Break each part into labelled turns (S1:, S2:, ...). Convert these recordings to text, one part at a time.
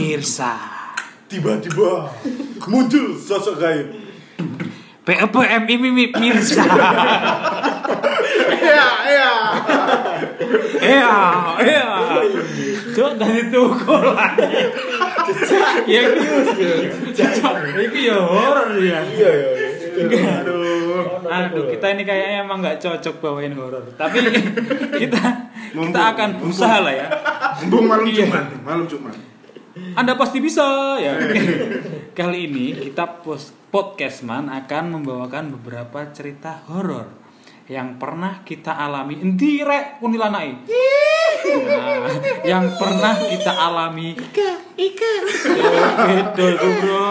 S1: bisa.
S2: Tiba-tiba muncul sosok gaib.
S1: PPM ini Mirza.
S3: Iya, iya.
S1: Iya, iya. Cuk dari tukul lagi. Ya itu cecak. Itu ya horor ya.
S2: Iya, iya. iya.
S3: Aduh.
S1: Aduh, kita ini kayaknya emang nggak cocok bawain horor. Tapi kita kita akan berusaha lah ya.
S3: Bung malam
S1: Iya.
S3: Jumat, malam Jumat.
S1: Anda pasti bisa ya. Kali ini kita pos- podcastman akan membawakan beberapa cerita horor yang pernah kita alami Endi, rek kuntilanak i. Nah, yang pernah kita alami Ika Ika gitu bro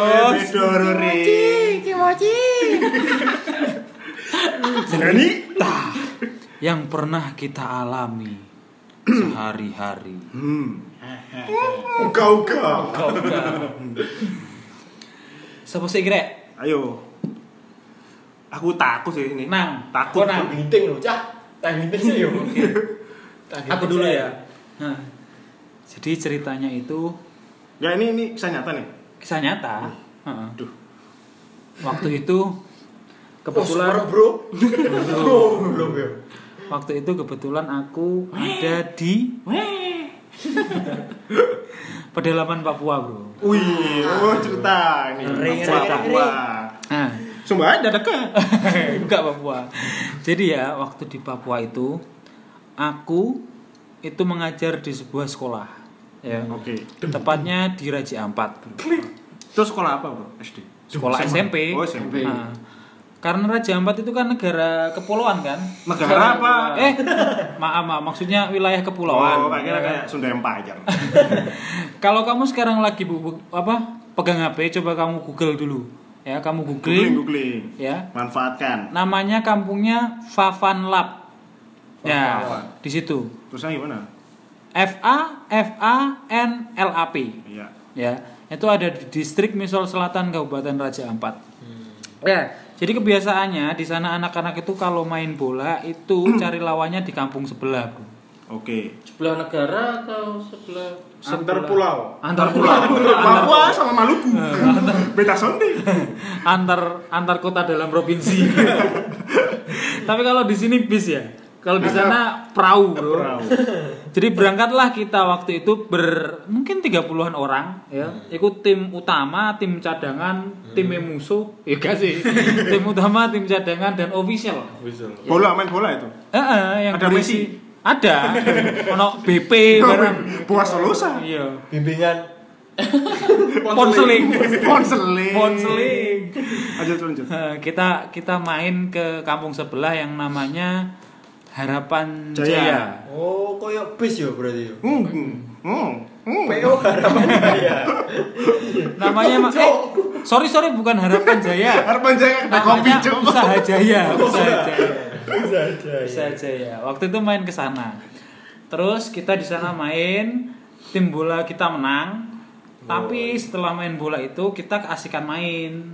S3: Dorori.
S1: cerita yang pernah kita alami sehari-hari
S3: Hmm.
S2: Uga-uga.
S1: siapa sih rek
S3: Ayo. Aku takut sih ini.
S1: nang
S3: Takut.
S1: Kok, nang
S4: meeting loh cah time meeting sih yo
S1: aku dulu ya. Nah, jadi ceritanya itu
S3: Ya ini ini kisah nyata nih.
S1: kisah nyata. Heeh.
S3: Aduh.
S1: Waktu itu
S4: kebetulan
S1: kebetulan
S4: bro bro belum ya
S1: waktu itu kebetulan aku ada di pedalaman Papua, Bro.
S3: Wih, oh cerita ini.
S1: Ring,
S3: Papua.
S1: ring, Nah,
S3: Sumpah ada dekat.
S1: enggak Papua. Jadi ya, waktu di Papua itu aku itu mengajar di sebuah sekolah. Ya.
S3: Oke.
S1: Tepatnya di Raja Ampat.
S3: Terus sekolah apa, Bro? SD.
S1: Sekolah SMP.
S3: Oh, SMP.
S1: Nah, karena Raja Ampat itu kan negara kepulauan kan?
S3: Negara apa?
S1: Eh, maaf, maaf, maksudnya wilayah kepulauan.
S3: Oh, kayaknya
S1: Ya kan?
S3: kayak Sunda Empire.
S1: Kalau kamu sekarang lagi bu, bu- apa? Pegang HP, coba kamu Google dulu. Ya, kamu googling.
S3: Googling, googling.
S1: Ya.
S3: Manfaatkan.
S1: Namanya kampungnya Favanlab. Ya, di situ.
S3: Terusnya gimana?
S1: F A F A N L A P.
S3: Iya.
S1: ya itu ada di distrik Misol Selatan Kabupaten Raja Ampat ya jadi kebiasaannya di sana anak-anak itu kalau main bola itu cari lawannya di kampung sebelah bro.
S3: Oke.
S4: sebelah negara atau sebelah
S3: Antar pulau.
S1: antar pulau antar,
S3: Papua sama Maluku. Beta sounding.
S1: antar antar kota dalam provinsi tapi kalau di sini bis ya kalau di sana perahu bro
S3: Perahu.
S1: jadi berangkatlah kita waktu itu ber mungkin 30-an orang ya. Ikut tim utama, tim cadangan, tim musuh, ya gak sih? tim utama, tim cadangan dan official.
S4: bisa
S3: Bola main bola itu.
S1: Eh, eh, yang
S3: Ada
S1: berisi- Ada. Ono BP Iya, bareng.
S3: Puas Solosa.
S1: Iya.
S4: bimbingan
S1: Ponseling.
S3: Ponseling.
S1: Ponseling.
S3: Aja lanjut.
S1: Eh, kita kita main ke kampung sebelah yang namanya Harapan
S3: Jaya.
S1: Jaya.
S4: oh koyo bis ya berarti yo
S3: Hmm. Hmm. Hmm.
S4: PO harapan ya
S1: Namanya ma- eh, sorry sorry bukan Harapan Jaya.
S3: Harapan jaya ada kopi
S1: Namanya
S3: Cok.
S1: Usaha Jaya, Usaha Jaya.
S4: bisa aja
S1: bisa aja ya waktu itu main ke sana terus kita di sana main tim bola kita menang tapi setelah main bola itu kita keasikan main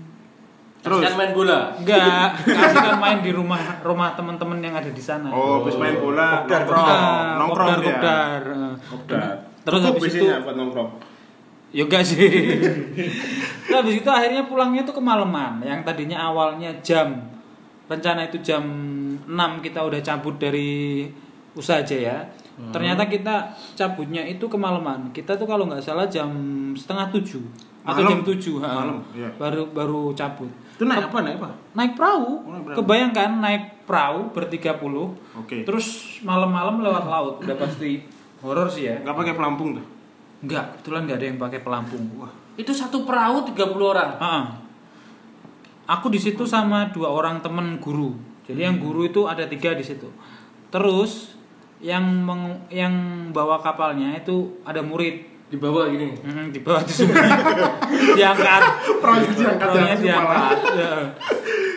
S3: Terus.
S4: Terus main bola
S1: enggak keasikan main di rumah rumah teman-teman yang ada di sana
S3: Oh, habis main bola,
S4: Kopdar,
S3: nongkrong,
S1: Ah,
S3: nongkrong
S1: kopdar,
S3: dia.
S1: kopdar. Eh,
S3: Kopdar.
S1: Terus
S3: Cukup
S1: habis
S3: isinya
S1: itu-
S3: buat nongkrong.
S1: Ya enggak sih. Terus Nah, habis itu akhirnya pulangnya tuh kemalaman. Yang tadinya awalnya jam rencana itu jam 6 kita udah cabut dari usaha aja ya.
S3: Hmm.
S1: Ternyata kita cabutnya itu kemalaman. Kita tuh kalau nggak salah jam setengah tujuh atau
S3: Malam.
S1: jam tujuh ha.
S3: Malam, iya.
S1: baru baru cabut.
S3: Itu naik apa naik apa?
S1: Naik perahu,
S3: Oh, naik perahu.
S1: kebayangkan naik perahu bertiga puluh.
S3: Oke.
S1: Terus malam-malam lewat laut udah pasti horor sih ya.
S3: Enggak pakai pelampung tuh.
S1: Enggak, kebetulan nggak ada yang pakai pelampung.
S4: itu satu perahu 30 orang
S1: Ah. Aku di situ sama dua orang temen guru. Jadi yang guru itu ada tiga di situ. Terus yang meng- yang bawa kapalnya itu ada murid
S4: di bawah gini
S1: Hmm, di bawah disembunyi. diangkat.
S3: Perahunya diangkat,
S1: Perahunya
S3: diangkat
S1: diangkat. Ya.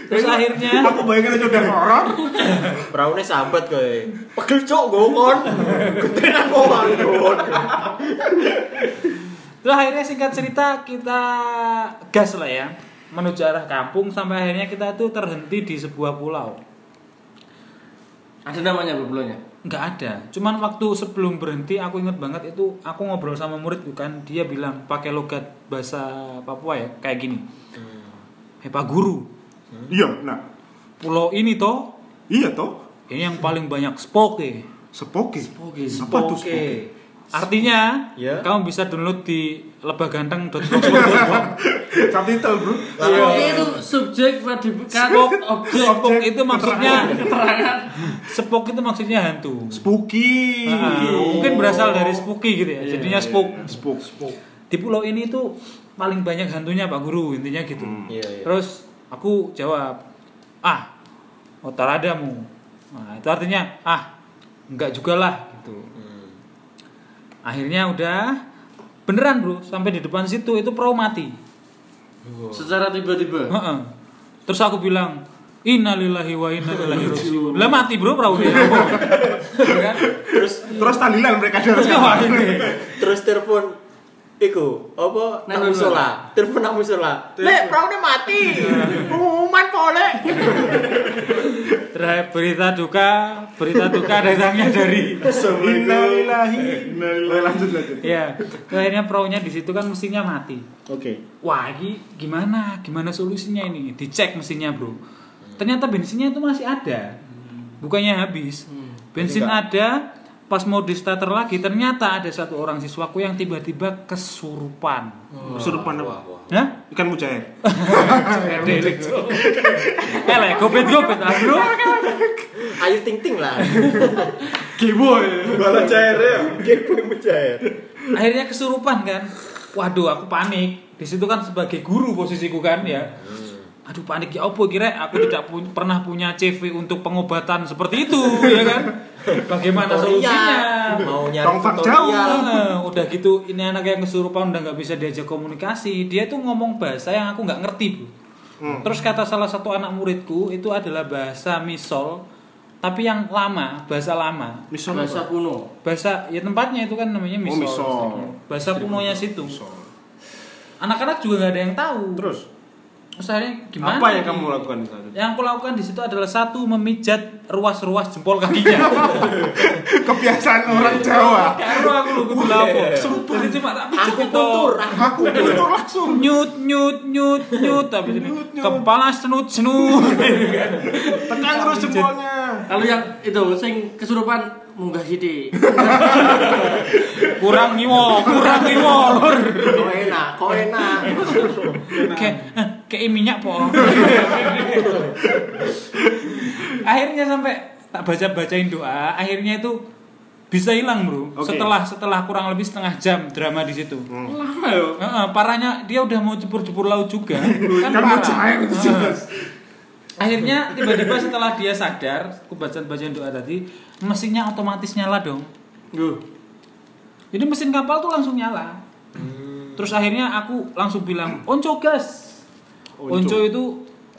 S1: Terus akhirnya
S3: Aku bayangin aja udah horor.
S4: perahunya sambat kowe pegel cok gongon ketenan gongon
S1: terus akhirnya singkat cerita kita gas lah ya menuju arah kampung sampai akhirnya kita tuh terhenti di sebuah pulau.
S4: ada namanya bu pulaunya
S1: nggak ada cuman waktu sebelum berhenti aku inget banget itu aku ngobrol sama murid kan dia bilang pakai logat bahasa Papua ya kayak gini eh pak guru
S3: Iya, nah.
S1: pulau ini toh
S3: Iya toh.
S1: ini yang paling banyak spoke
S3: Sepoke.
S4: Spoke.
S3: Apa tuh spoke?
S1: artinya
S4: Ya.
S1: kamu bisa download di lebaganteng.com
S3: Subtitle, Bro.
S5: Spoke Iya, itu subjek predikat objek
S1: sepok itu maksudnya
S5: keterangan.
S1: sepok itu maksudnya hantu
S3: Spooky.
S1: Ah, mungkin berasal dari spooky gitu ya
S3: Iya,
S1: jadinya spook
S3: Spook.
S1: di pulau ini tuh paling banyak hantunya pak guru intinya gitu
S4: Iya, iya.
S1: terus aku jawab ah otar adamu nah, itu artinya ah enggak juga lah gitu
S4: Hmm.
S1: akhirnya udah beneran bro sampai di depan situ itu perahu mati
S5: Secara tiba-tiba.
S1: Heeh. terus aku bilang innalillahi wa inna ilaihi raji'un lah mati bro perahunya Ya kan?
S4: Terus
S3: Terus tahlilan mereka dari
S1: Terus
S3: sana.
S1: ngapain nih?
S4: terus telepon Iku, apa?
S5: Nang
S4: Nang musola. Telepon nang musola. Lek, praune mati. Pengumuman pole.
S1: Terhadap berita duka, berita duka datangnya dari
S3: Innalillahi. Oke, lanjut lanjut.
S1: ya akhirnya perahunya di situ kan mesinnya mati
S4: Oke.
S1: wah ini gimana gimana solusinya ini dicek mesinnya bro ternyata bensinnya itu masih ada bukannya habis bensin ada pas mau di starter lagi ternyata ada satu orang siswaku yang tiba-tiba kesurupan
S3: Hmm. Kesurupan apa?
S4: Wah, wah.
S1: Hah?
S3: Ikan mujair.
S1: Eh, leh, gobet gobet ah, bro.
S4: Ayu ting ting lah.
S2: Kiboy. Bala cair ya.
S4: Gue mujair.
S1: Akhirnya kesurupan kan. Waduh, aku panik. Di situ kan sebagai guru posisiku kan ya. Aduh panik ya opo kira aku tidak pu- pernah punya CV untuk pengobatan seperti itu ya kan. Bagaimana solusinya?
S4: Mau nyari
S3: Tongfang
S4: tutorial.
S1: Eh, udah gitu ini anak yang kesurupan udah nggak bisa diajak komunikasi dia tuh ngomong bahasa yang aku nggak ngerti bu terus kata salah satu anak muridku itu adalah bahasa misol tapi yang lama bahasa lama
S3: Misal
S5: Bahasa kuno.
S1: bahasa ya tempatnya itu kan
S3: Oh,
S1: namanya misol,
S3: misol.
S1: bahasa kunonya situ anak-anak juga nggak ada yang tahu
S3: Terus
S1: terus akhirnya gimana
S3: apa yang
S1: nih?
S3: kamu lakukan di sana?
S1: yang aku lakukan di situ adalah satu memijat ruas-ruas jempol kakinya
S3: Kebiasaan orang Jawa.
S1: karo aku lho kudu lapo jadi cuma tak pijat
S4: Aku
S1: itu.
S4: kultur. Aku
S3: Aku itu langsung.
S1: nyut nyut nyut nyut tapi ini kepala senut senut
S3: Tekan terus jempolnya.
S5: Kalau yang itu sing kesurupan munggah sithik.
S1: kurang ngiwo kurang ngiwo lur
S4: Kok enak, kok enak.
S3: Nah.
S1: kayak eh, kayak minyak po akhirnya sampai tak baca bacain doa akhirnya itu bisa hilang bro
S3: Oke. Hmm.
S1: setelah setelah kurang lebih setengah jam drama di situ
S5: Lama yo.
S1: Heeh, parahnya dia udah mau jebur-jebur laut juga kan
S3: Kan
S1: parah.
S3: mujair itu sih.
S1: Heeh. akhirnya tiba-tiba setelah dia sadar aku baca bacain doa tadi mesinnya otomatis nyala dong
S5: Yo.
S1: jadi mesin kapal tuh langsung nyala
S3: Hmm.
S1: terus akhirnya aku langsung bilang onco gas onco,
S3: Onco
S1: itu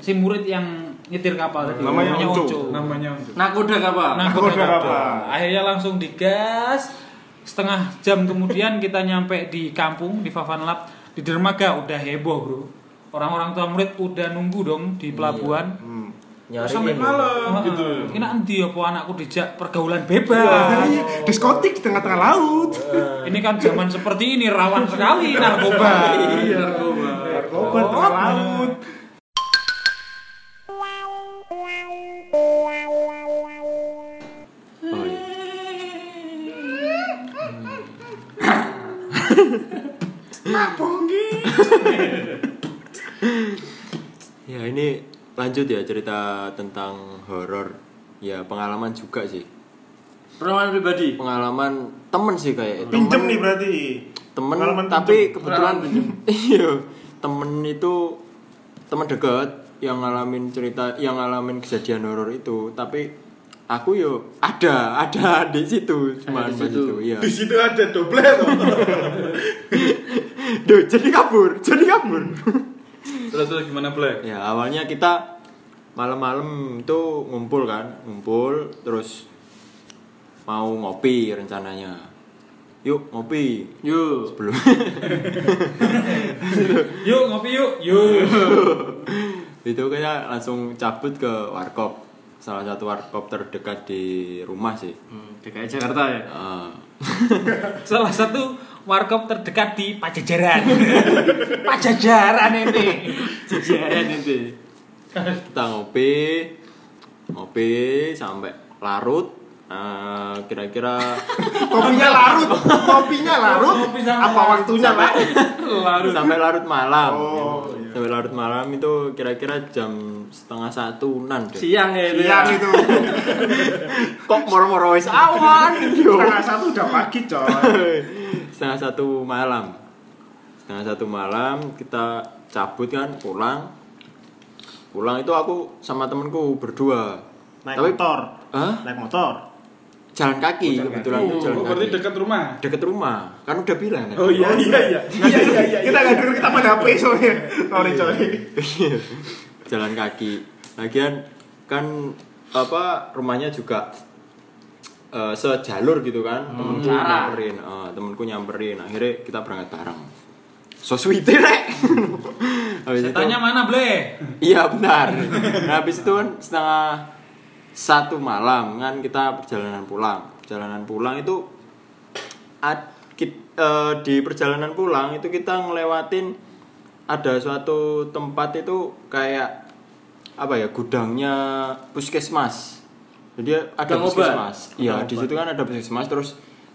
S1: si murid yang nyetir kapal tadi
S3: Namanya Onco.
S1: namanya
S5: Nakoda kapal.
S1: nah udah
S3: Nakoda kapal.
S1: kapal. akhirnya langsung digas setengah jam kemudian kita nyampe di kampung di Favanlap di dermaga udah heboh bro orang-orang tua murid udah nunggu dong di pelabuhan
S3: Hmm.
S4: Nyari
S1: ya?
S2: Sampai
S4: ini.
S2: malam
S1: Heeh.
S2: gitu.
S1: Ini nanti apa anakku dijak pergaulan bebas.
S3: Iya, diskotik di tengah-tengah laut.
S1: Ini kan zaman seperti ini rawan sekali narkoba.
S5: Iya, narkoba.
S3: Narkoba tengah
S1: Oh.
S3: laut.
S4: Ya ini lanjut ya cerita tentang horor. Ya pengalaman juga sih.
S5: Pengalaman pribadi.
S4: Pengalaman temen sih kayak temen-
S3: Pinjem nih berarti.
S4: temen
S3: Pengalaman
S4: tapi kebetulan
S5: Pengalaman pinjem.
S4: iya temen itu temen deket yang ngalamin cerita yang ngalamin kejadian horor itu tapi aku yo ada ada di situ cuman
S5: Ada di
S4: pas
S5: situ.
S4: itu iya
S2: Di situ ada doblet.
S4: Duh, jadi kabur jadi kabur
S2: Terus terus gimana Black?
S4: ya awalnya kita malam-malam itu ngumpul kan ngumpul terus mau ngopi rencananya yuk ngopi
S5: Yo.
S4: sebelum
S1: Yuk ngopi yuk. Yuk.
S4: itu kita langsung cabut ke warkop salah satu warkop terdekat di rumah sih.
S5: Hmm, DKI Jakarta ya.
S4: Eh,
S1: Salah satu warkop terdekat di Pajajaran. Pajajaran ini.
S5: Jajaran itu.
S4: kita ngopi, ngopi sampai larut. Eh, kira-kira
S3: Kopinya larut, kopinya larut.
S1: Kopinya
S3: Apa
S1: larut.
S3: waktunya, Pak?
S4: sampai larut malam.
S3: Oh, iya.
S4: Sampai larut malam itu kira-kira jam setengah satuan deh.
S5: Siang ya itu.
S3: Siang
S5: ya.
S3: itu.
S4: Kok moro-moro wis awan. yo.
S3: Setengah satu udah pagi, coy.
S4: setengah satu malam setengah satu malam kita cabut kan pulang pulang itu aku sama temenku berdua
S3: Naik
S4: tapi
S3: motor.
S4: Hah?
S3: Naik motor.
S4: jalan kaki
S3: Oh, jalan
S4: kebetulan
S2: Oh,
S4: itu jalan
S2: berarti
S4: kaki
S2: dekat rumah.
S4: deket rumah kan udah bilang kan?
S2: Oh iya iya iya.
S3: Iya, iya, iya. Kita nggak dulu kita pada HP soalnya. Sorry,
S4: Iya,
S3: coy.
S4: jalan kaki lagian kan apa rumahnya juga eh, sejalur gitu kan temenku
S5: jarak.
S4: nyamperin eh, temenku nyamperin akhirnya kita berangkat bareng so sweet rek Habis
S2: Iya.
S4: itu-
S1: Setannya mana, Ble?
S4: Iya benar. Nah, habis itu kan setengah satu malam kan kita perjalanan pulang. Perjalanan pulang itu ad- kit- eh, di perjalanan pulang itu kita ngelewatin ada suatu tempat itu kayak apa ya gudangnya puskesmas. Jadi ada
S5: Gudang obat.
S4: puskesmas.
S3: Gudang
S4: Iya di
S3: obat.
S4: situ kan ada puskesmas terus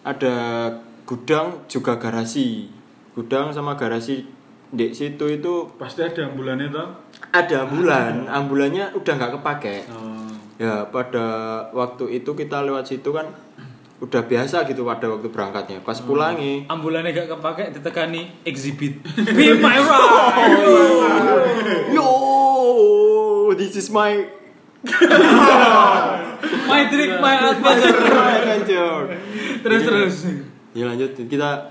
S4: ada gudang juga garasi. Gudang sama garasi di situ itu
S2: Pasti ada ambulannya toh.
S4: ada ambulan, ambulannya udah nggak kepake. Ya pada waktu itu kita lewat situ kan udah biasa gitu pada waktu berangkatnya. Pas pulangi,
S1: Ambulannya gak kepake ditekani exhibit. Be my
S2: Oh,
S1: right.
S4: yo, this is my
S2: iya.
S1: my trick, my adventure.
S4: adventure.
S1: Terus terus.
S4: ya lanjut kita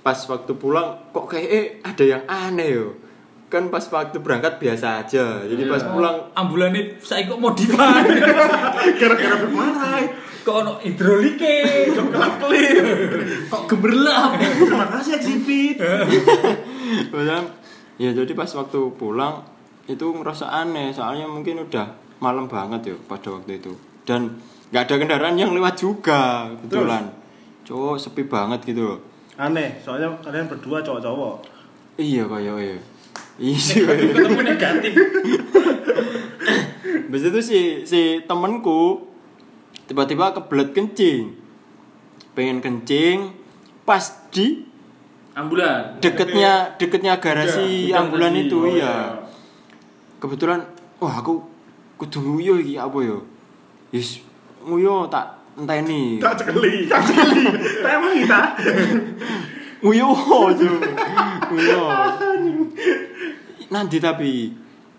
S4: pas waktu pulang kok kayak eh, ada yang aneh yo. Kan pas waktu berangkat biasa aja. Jadi pas
S1: Iya.
S4: pulang
S1: Ambulannya saya kok modifan.
S3: Gara-gara bermarah.
S1: kok ono hidrolike kok kelap-kelip kok gemerlap
S3: Terima kasih, Exhibit.
S4: Padahal, ya jadi pas waktu pulang itu ngerasa aneh soalnya mungkin udah malam banget ya pada waktu itu dan nggak ada kendaraan yang lewat juga kebetulan cowok sepi banget gitu loh
S3: Aneh, soalnya kalian berdua cowok-cowok.
S4: iya kayak iya iya sih kayak.
S5: Ketemu negatif.
S4: Habis itu si si temenku tiba-tiba kebelet kencing pengen kencing pas di
S5: Ambulan.
S4: deketnya deketnya garasi
S2: Udah, udah
S4: ambulan
S2: tadi.
S4: itu
S2: Oh,
S4: iya. Kebetulan wah aku kudu nguyo iki apa ya? Yes, nguyo tak enteni.
S3: Tak cekeli, tak cekeli. Tak emang kita.
S4: Nguyo aja. Nguyo. Nanti tapi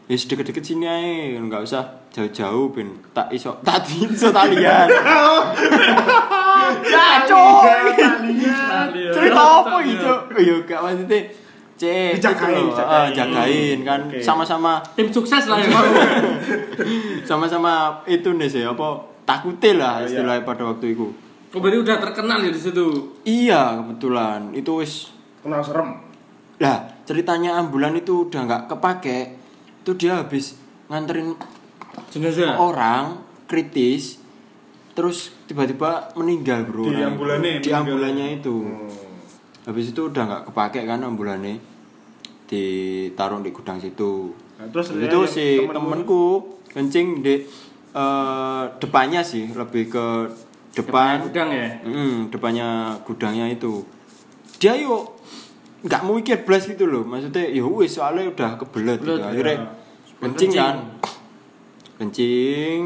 S4: yes deket-deket sini ae, enggak usah jauh-jauh ben tak iso tak iso tak lihat. Ya coy. cerita apa gitu iya gak maksudnya cek
S3: Dijagain,
S4: gitu loh.
S3: dijagain.
S4: Ah, jagain kan
S3: Oke.
S4: sama-sama
S5: Tim sukses lah ya. Pak.
S4: sama-sama itu nih sih apa takutnya
S2: Oh,
S4: lah
S3: Iya.
S4: istilahnya pada waktu itu
S5: Oh berarti udah terkenal ya di situ.
S4: iya kebetulan itu wis
S3: Kenal serem.
S4: lah ceritanya ambulan itu udah nggak kepake itu dia habis nganterin
S5: Jenazah.
S4: Oh. orang kritis terus tiba-tiba meninggal bro
S2: Di
S4: orang.
S2: ambulannya
S4: nah. di
S2: meninggal. Oh.
S4: ambulannya itu
S3: Oh.
S4: habis itu udah nggak kepake kan ambulannya ditaruh di gudang situ
S3: Nah, terus
S4: Habis
S3: dia-
S4: itu si
S3: temenmu-
S4: temenku kencing di eh, depannya sih lebih ke
S5: Depan
S4: depan
S5: gudang ya.
S4: Mm, depannya gudangnya itu dia yuk nggak mau mikir blas gitu loh maksudnya ya wis soalnya udah kebelet gitu.
S5: Kebelet,
S4: akhirnya kencing kan kencing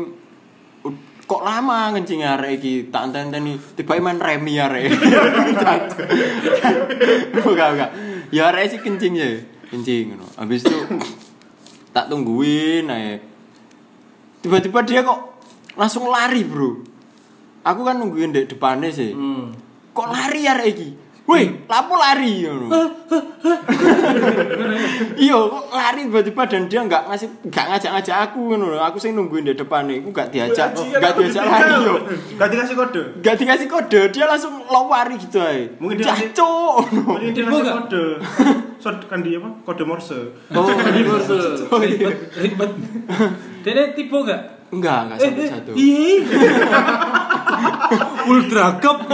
S4: U- kok lama kencing arek iki tak enten-enteni tiba main remi arek enggak enggak ya arek sih kencing ya kencing ngono habis itu tak tungguin ae tiba-tiba dia kok langsung lari bro aku kan nungguin di depannya sih
S5: Hmm.
S4: kok lari ya iki
S3: Hmm.
S4: Wih, lapo lari ngono. Iya, kok lari tiba-tiba dan dia nggak ngasih nggak ngajak-ngajak aku ngono lho. Aku sing nungguin di depan nih, aku nggak diajak,
S3: Iya,
S4: nggak diajak lari yo.
S3: Gak kan dikasih kode.
S4: Nggak dikasih kode, dia langsung lari gitu ae.
S3: Mungkin dia-
S4: dia cok.
S3: Mungkin dia
S1: Tipu
S3: ngasih
S1: gak?
S3: kode. So, kan dia apa? Kode Morse.
S5: Oh, di bursa.
S1: ribet ribet dia tipe gak
S4: Enggak, enggak
S1: Eh,
S4: Ah,
S3: Eh,
S4: sampai satu.
S1: Ultra Cup.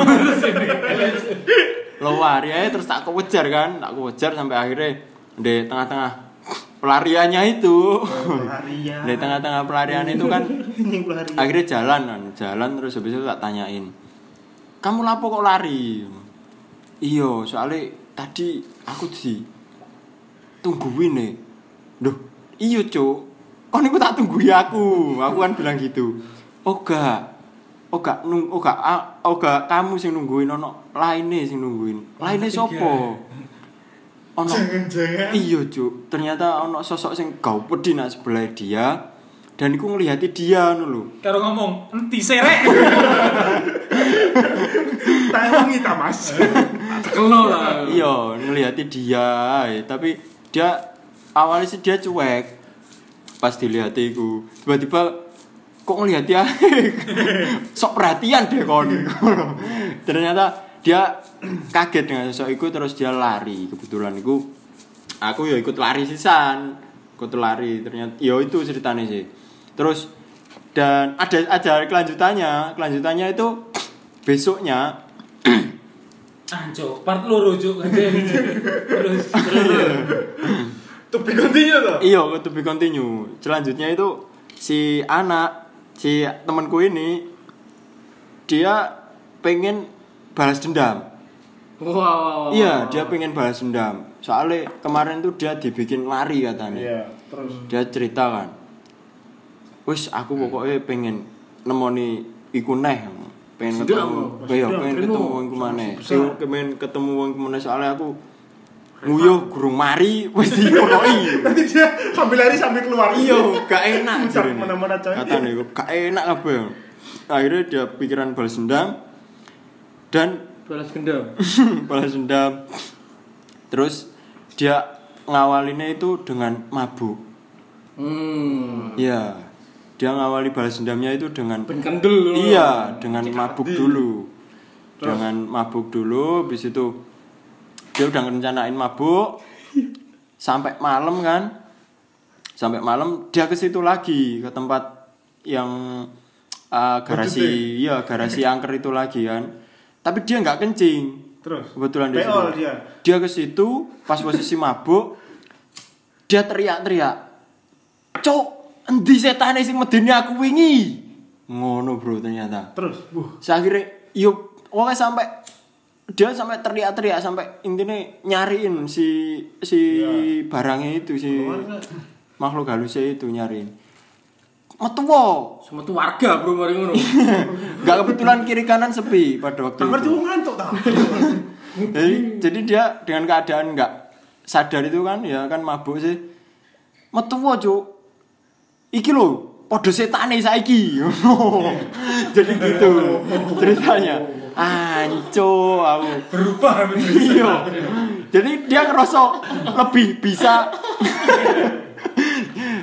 S4: Lewari aja terus tak kewejar kan, tak kewejar sampai akhirnya di tengah-tengah pelariannya itu.
S3: pelarian
S4: Di tengah-tengah pelarian itu kan
S3: Anjing pelarian
S4: akhirnya jalan kan, jalan terus habis itu tak tanyain. Kamu lapo kok lari? Iya, soalnya tadi aku di tungguin nih. Duh, iya cuk. Kon iku tak tunggui aku. Aku kan bilang gitu. "Oh, Oga. Oga nung oga a- oga kamu sing nungguin ono lainnya sing nungguin. Lainnya sopo? Ono
S2: Jangan-jangan.
S4: Iya cuk, ternyata ono sosok sing gaupet di nak sebelah dia dan iku ngelihati dia ngono lho.
S1: Karo ngomong enti serek.
S3: tangi ta mas
S5: Kelo lah.
S4: Iya, ngelihati dia, ae. tapi dia awalnya sih dia cuek. Pas dilihati iku, tiba-tiba kok ngelihati ae. Sok perhatian deh kon. ternyata dia kaget dengan sosok iku terus dia lari. Kebetulan iku aku ya ikut lari sisan. Ikut lari ternyata ya itu ceritanya sih. Terus dan ada ada kelanjutannya. Kelanjutannya itu besoknya
S1: Anco, Ah, part lu rujuk aja. Terus
S2: To be continue toh.
S4: Iya, to be continue. Selanjutnya itu si anak, si temanku ini dia pengen balas dendam.
S5: Wow, Wow.
S4: Iya, dia pengen balas dendam. Soalnya kemarin tuh dia dibikin lari katanya.
S2: Iya, terus
S4: Dia cerita kan. Wis aku pokoknya pengen nemoni iku neh. Pengen
S5: Sedap,
S4: ketemu.
S5: Mas.
S4: Iya,
S3: Sedap,
S4: pengen
S3: keren,
S4: ketemu
S3: Mas.
S4: wong ku maneh.
S3: Sebesar.
S4: Iya, Pengen ketemu wong ku maneh soalnya aku nguyuh gurung mari wis dikonoki.
S3: nanti dia sambil lari sambil keluar
S4: iya gak enak
S3: Sak
S4: jarene.
S3: mana-mana, coy.
S4: katanya iku, gak enak kabeh akhirnya dia pikiran balas dendam dan
S5: Balas gendam.
S4: balas dendam terus dia ngawalinnya itu dengan mabuk
S5: Hmm.
S4: ya dia ngawali balas dendamnya itu dengan
S5: Ben kendel.
S4: iya dengan mabuk dulu dengan mabuk dulu habis itu dia udah ngerencanain mabuk sampai malam kan sampai malam dia ke situ lagi ke tempat yang uh, garasi iya garasi angker itu lagi kan tapi dia nggak kencing
S2: terus.
S4: kebetulan dia
S3: Peol
S4: situ.
S3: dia.
S4: dia ke situ pas posisi mabuk dia teriak-teriak cok endi setane sing medeni aku wingi ngono bro ternyata
S3: terus buh
S4: akhirnya yuk pokoknya sampai dia sampai teriak-teriak sampai intinya nyariin si si barangnya itu si makhluk halusnya itu nyariin metu wo.
S5: Semua tuh warga bro mari ngono.
S4: nggak kebetulan kiri kanan sepi pada waktu
S3: tak ngerti
S4: itu
S3: wong ngantuk ta
S4: jadi jadi dia dengan keadaan nggak sadar itu kan ya kan mabuk sih metu wo, cuk iki lho podo setane saiki jadi gitu ceritanya anco aku
S1: berubah
S4: iya jadi dia ngerasa lebih bisa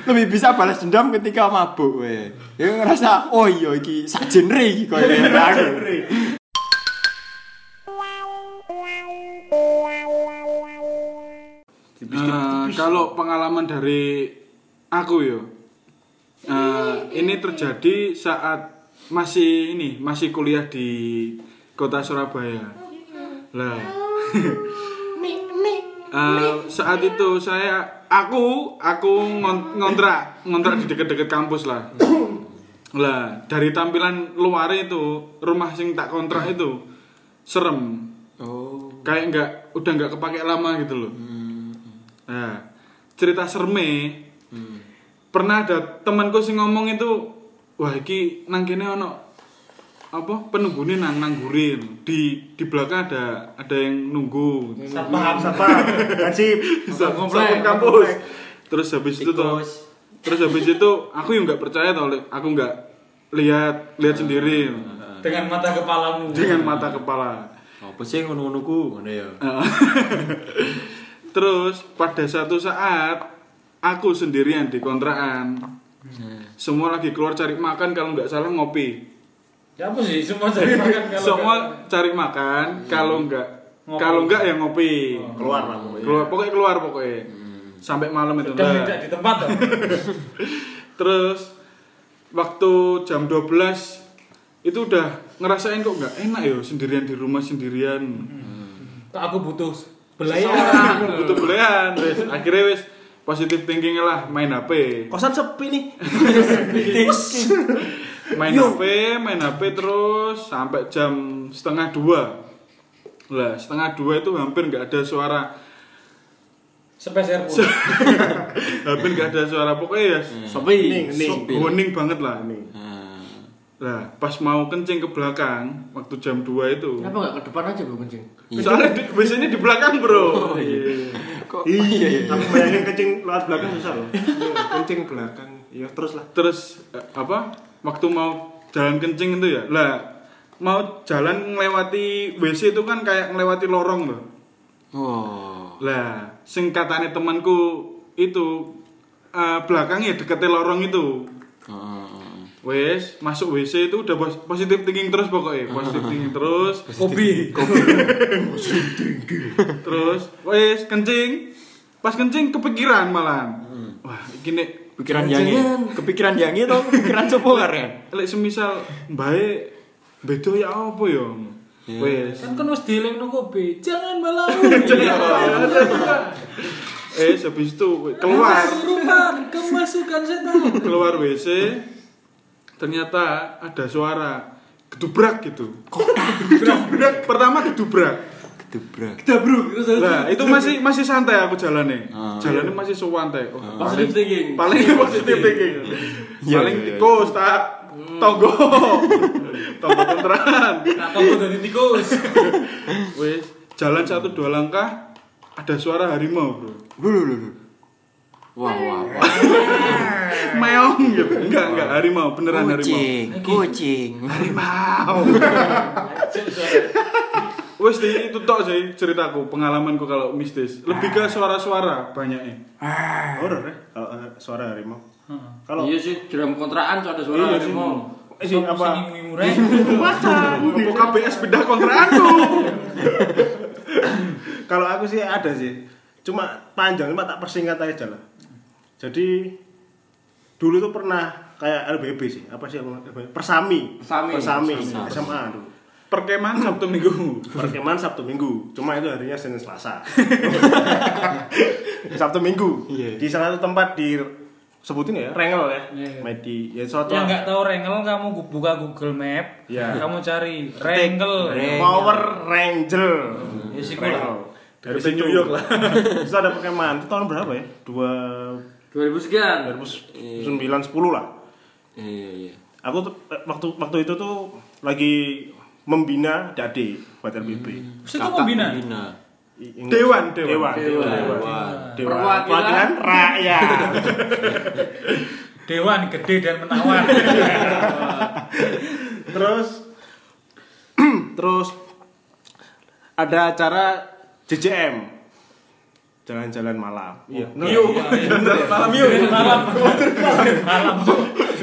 S4: lebih bisa balas dendam ketika mabuk we dia ngerasa oh iya iki sak genre iki koyo ngene aku."
S2: Eh, kalau pengalaman dari aku yo. Eh, ini terjadi saat masih ini, masih kuliah di kota Surabaya. Lah. Eh, saat itu saya aku aku ngon- ngontrak ngontrak di deket-deket kampus lah. lah, dari tampilan luar itu, rumah sing tak kontrak itu serem.
S4: oh
S2: Kayak nggak udah nggak kepake lama gitu loh. Nah, cerita serme. Pernah ada temanku sing ngomong itu, wah iki nang kene ono apa penunggune nang nanggurin di di belakang ada ada yang nunggu
S3: satpam satpam wajib
S2: Sa-
S5: Komplek,
S2: satpam kampus terus habis itu toh
S4: Tikus.
S2: terus habis itu aku yang nggak percaya toh Le. aku nggak lihat lihat sendiri
S1: dengan mata kepalamu.
S2: dengan mata kepala
S4: apa sih ngono-ngono ku ngono ya
S2: Terus pada satu saat aku sendirian di kontrakan. Semua lagi keluar cari makan kalau nggak salah ngopi.
S1: Ya apa sih semua cari makan kalau
S2: Semua cari makan kalau nggak
S1: Ngopi.
S2: kalau nggak ya ngopi.
S3: keluar lah pokoknya
S2: Keluar pokoknya keluar pokoknya. Sampai malam itu
S1: dan
S2: enggak.
S1: tidak di tempat. toh.
S2: Terus waktu jam 12 itu udah ngerasain kok nggak enak ya sendirian di rumah sendirian
S1: Kok aku butuh
S2: Seorang,
S1: belayan.
S2: butuh belayan wes akhirnya wes positive thinking lah main HP
S3: Kosan sepi nih.
S2: main
S3: Yo.
S2: HP main HP terus sampai jam setengah dua lah setengah dua itu hampir nggak ada suara
S1: Sepeser pun.
S2: hampir nggak ada suara pokoknya ya
S3: Sepi.
S2: so- hening banget lah lah pas mau kencing ke belakang waktu jam 2 itu
S5: Kenapa nggak ke depan aja bro kencing?
S2: soalnya di- biasanya di belakang bro
S4: Kok
S3: Iya, iya. Aku bayangin kencing lewat belakang susah loh. Iya, Kencing belakang. Iya, terus lah.
S2: terus eh, apa waktu mau jalan kencing itu ya lah mau jalan ngelewati WC itu kan kayak ngelewati lorong loh
S4: Oh.
S2: lah singkatannya temanku itu eh, belakangnya deketnya lorong itu
S4: Heeh.
S2: wes masuk WC itu udah pos- positive thinking terus pokoknya positive thinking terus
S1: Kopi.
S2: terus wes kencing pas kencing kepikiran malam wah gini
S4: Pikiran yangi. Kepikiran yangi atau kepikiran sopo kan?
S2: lek semisal baik beda ya apa ya wes
S1: Kan kan wis dielingno kopi. Jangan malam.
S2: eh habis itu we- keluar
S1: Rumah kemasukan setan.
S2: keluar WC ternyata ada suara gedubrak gitu gedubrak pertama gedubrak
S4: Kedubrak.
S5: Kita bro, terus aja.
S2: nah itu masih masih santai aku jalannya
S4: Ah.
S2: jalannya masih sewantai oh,
S5: Positive thinking.
S2: paling positif thinking
S4: Iya,
S2: paling
S4: iya, iya.
S2: tikus tak tonggo tonggo kontrakan
S1: Nah, kamu dari tikus.
S2: Wes, jalan satu dua langkah ada suara harimau, Bro.
S4: Lulu lulu. Wah wah wah.
S2: Meong gitu. Enggak, enggak harimau, beneran harimau.
S4: Kucing, kucing.
S2: Harimau. Wes, di- itu tok sih ceritaku, pengalamanku kalau mistis. Lebih ke suara-suara banyaknya.
S3: Horor ya. Kalau, eh, Suara harimau. Kalau
S5: Iya sih, dalam kontrakan tuh ada suara
S3: Iya sih.
S5: harimau.
S3: Eh, sih, apa?
S1: Ngimu-ngimu rek.
S2: Apa KBS pindah kontraanku?
S3: Kalau aku sih ada sih. Cuma panjang, cuma tak persingkat aja lah. Jadi dulu tuh pernah kayak LBB sih, apa sih yang- Persami.
S5: Persami.
S3: Persami, SMA dulu.
S2: Perkemahan Sabtu Minggu.
S3: Perkemahan Sabtu Minggu, cuma itu harinya Senin Selasa. Sabtu Minggu. Di salah satu tempat di sebutin ya, Rengel ya.
S5: Iya, iya.
S3: Medi, ya suatu
S1: Yang nggak tahu Rengel kamu gu- buka Google Map,
S3: Iya.
S1: kamu cari Rengel.
S4: Reng-
S3: Power Ranger.
S1: Ya, sih,
S3: Rengel. Dari
S2: Deketin
S3: situ.
S2: New York lah.
S3: Terus ada perkemahan, itu tahun berapa ya? Dua
S5: 2000 sekian.
S3: 2009 10 lah.
S4: Iya iya.
S3: Aku tuh, eh, waktu waktu itu tuh lagi membina Dade buat LBB.
S1: Terus itu kombina.
S4: Bina.
S3: I- ingat-
S2: Dewan, dewan.
S3: dewan,
S5: Dewan.
S4: Wah.
S3: Dewan.
S5: Perwakilan.
S3: Perwakilan rakyat.
S1: Dewan gede dan menawan.
S3: terus terus ada acara JJM jalan-jalan malam iya
S2: Yuk, jalan malam yuk.
S1: Iya, malam. malam.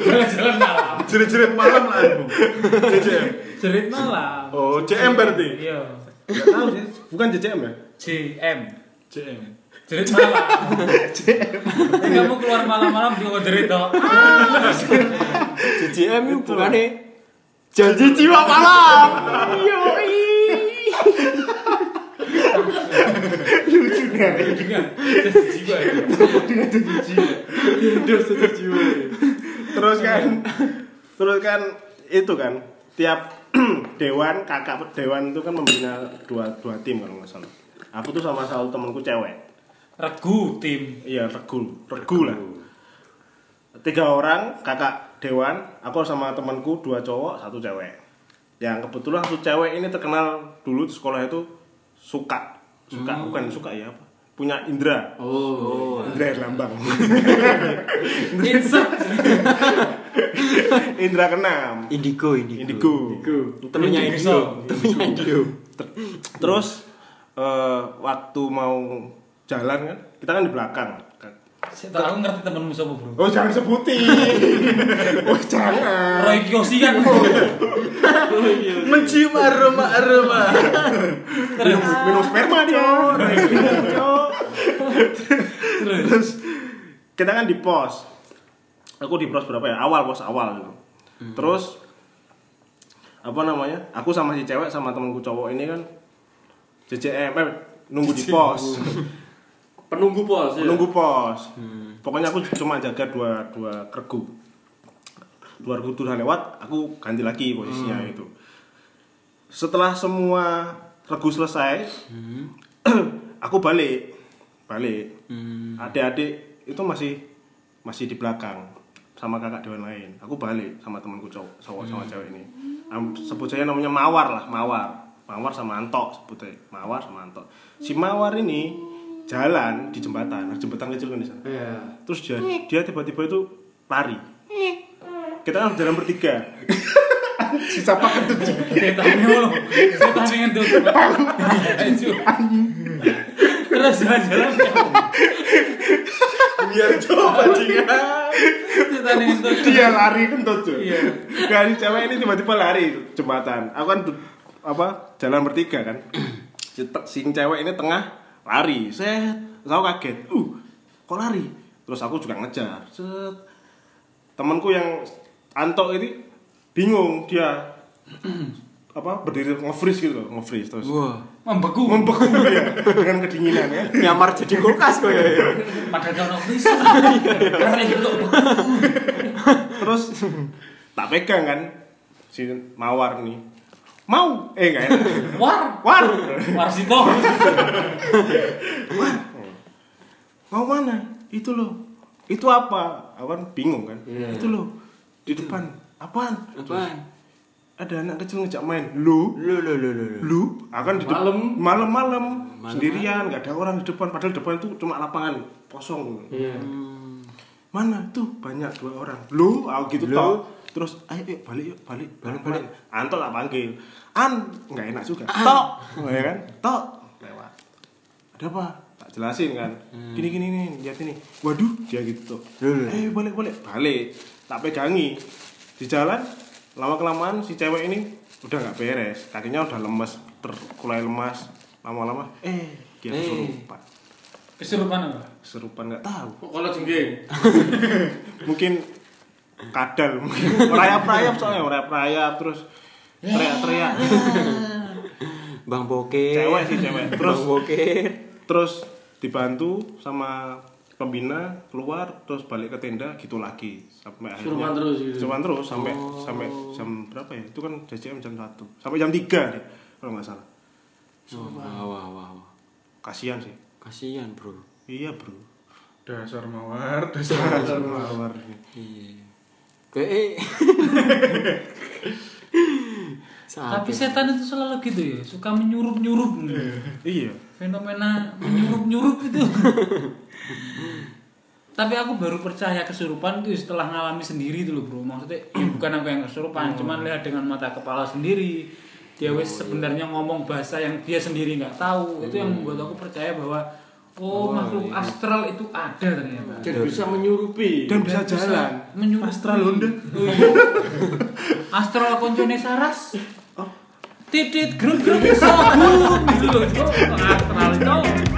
S1: Jalan-jalan malam.
S2: Jerit-jerit malam lah, Bu. JJM.
S1: Jerit malam.
S2: Oh, JM berarti.
S1: Iya.
S3: Nggak tahu sih bukan JJM ya
S1: JM.
S2: JM.
S1: Jerit malam. JM. Kamu keluar malam-malam juga jerit toh.
S4: JJM itu bukannya janji jiwa malam. Yoi.
S1: Jiwa ya.
S3: terus kan
S2: Iya.
S3: terus kan itu kan tiap dewan kakak dewan itu kan membina dua dua tim kalau nggak salah aku tuh sama satu temanku cewek
S1: Regu tim.
S3: iya regu regu lah tiga orang kakak dewan aku sama temanku dua cowok satu cewek yang kebetulan satu cewek ini terkenal dulu di sekolah itu suka suka bukan suka ya apa punya Indra
S5: Hmm. Oh.
S3: Indra Lambang
S5: Insert.
S3: Indra kenam
S4: Indigo indigo.
S3: Indigo
S4: Temennya indigo. Temennya indigo.
S3: terus eh, waktu mau jalan kan kita kan di belakang
S1: Saya tahu, Aku ngerti temenmu siapa, Bro.
S3: oh jangan sebutin oh jangan
S1: Roy Kiyoshi kan.
S2: Mencium aroma-aroma.
S3: minum, minum sperma dia terus kita kan di pos aku di pros berapa ya awal pos awal gitu terus apa namanya aku sama si cewek sama temanku cowok ini kan JJM eh, nunggu di pos
S5: Penunggu pos ya.
S3: nunggu pos pokoknya aku cuma jaga dua dua kergu dua kergu udah lewat aku ganti lagi posisinya itu setelah semua regu selesai aku balik balik Hmm. adik-adik itu masih masih di belakang sama kakak dewan lain aku balik sama temanku cowok cowok sama cewek ini Am- sebut saja namanya mawar lah mawar mawar sama antok sebut aja. mawar sama antok si mawar ini jalan di jembatan ada jembatan kecil kan di sana terus dia dia tiba-tiba itu lari kita kan jalan bertiga sisa paket tuh
S1: Setannya ngono. Setannya ngentut. Ayo. Terus jalan-jalan.
S4: biar coba bajingan
S1: Setannya ngentut.
S3: dia ya lari kentut tuh
S1: Iya.
S3: dan cewek ini tiba-tiba lari jembatan aku kan du- apa jalan bertiga kan Si te- sing cewek ini tengah lari set Terus aku kaget uh kok lari terus aku juga ngejar set temanku yang antok ini bingung dia apa berdiri nge-freeze gitu loh nge-freeze terus
S1: Membeku.
S3: membeku dia dengan kedinginan ya
S4: nyamar jadi kulkas kok ya
S1: Padahal kono kris. Keren itu.
S3: terus tak pegang kan si mawar nih mau eh enggak enak
S1: War.
S3: war
S1: Warsito.
S3: mau mana itu loh itu apa aku kan bingung kan itu loh di depan apaan
S4: apaan
S3: ada anak kecil ngejak main lu
S4: lu lu lu lu lu.
S3: lu akan di
S5: Malam.
S3: depan Iya. malam-malam sendirian nggak ada orang di depan padahal depan itu cuma lapangan kosong Hmm.
S5: Iya.
S3: mana tuh banyak dua orang lu aku gitu toh terus ayo yuk balik yuk balik balik balik anto tak panggil an nggak enak juga tok ya kan tok lewat ada apa tak jelasin kan gini gini nih lihat ini waduh dia gitu tuh
S4: Loh, loh.
S3: eh balik balik balik tak pegangi di jalan lama kelamaan si cewek ini udah nggak beres kakinya udah lemes terkulai lemas lama-lama eh dia
S4: Eh.
S3: kesurupan
S1: Kesurupan apa?
S3: kesurupan nggak tahu
S5: Kok kalau jenggeng?
S3: mungkin kadal mungkin merayap-rayap soalnya merayap-rayap terus teriak-teriak
S4: bang bokeh
S3: cewek sih cewek terus
S4: bang bokeh
S3: terus dibantu sama pembina keluar terus balik ke tenda gitu lagi sampai akhirnya
S5: Suruhan terus gitu.
S3: Cuman terus sampai sampai jam berapa ya itu kan JCM jam 1 sampai jam 3 deh kalau nggak salah
S5: Oh,
S4: wah wah wah wah.
S3: kasihan sih
S4: kasihan bro
S3: iya bro
S2: dasar mawar dasar
S3: Mawar.
S4: iya kayak
S1: Tapi setan itu selalu gitu ya, suka menyurup-nyurup.
S3: iya
S1: Fenomena menyurup-nyurup itu. Tapi aku baru percaya kesurupan itu setelah ngalami sendiri itu loh, Bro. Maksudnya ya bukan aku yang kesurupan, cuman lihat dengan mata kepala sendiri. Dia wes sebenarnya ngomong bahasa yang dia sendiri nggak tahu. Itu yang membuat aku percaya bahwa oh, makhluk astral itu ada ternyata.
S5: Dan bisa menyurupi.
S1: Iya,
S3: dan bisa jalan
S1: menyurup
S3: astral Honda
S1: astral koncone saras
S3: Oh.
S1: titit gruk gruk sabun gitu loh astral itu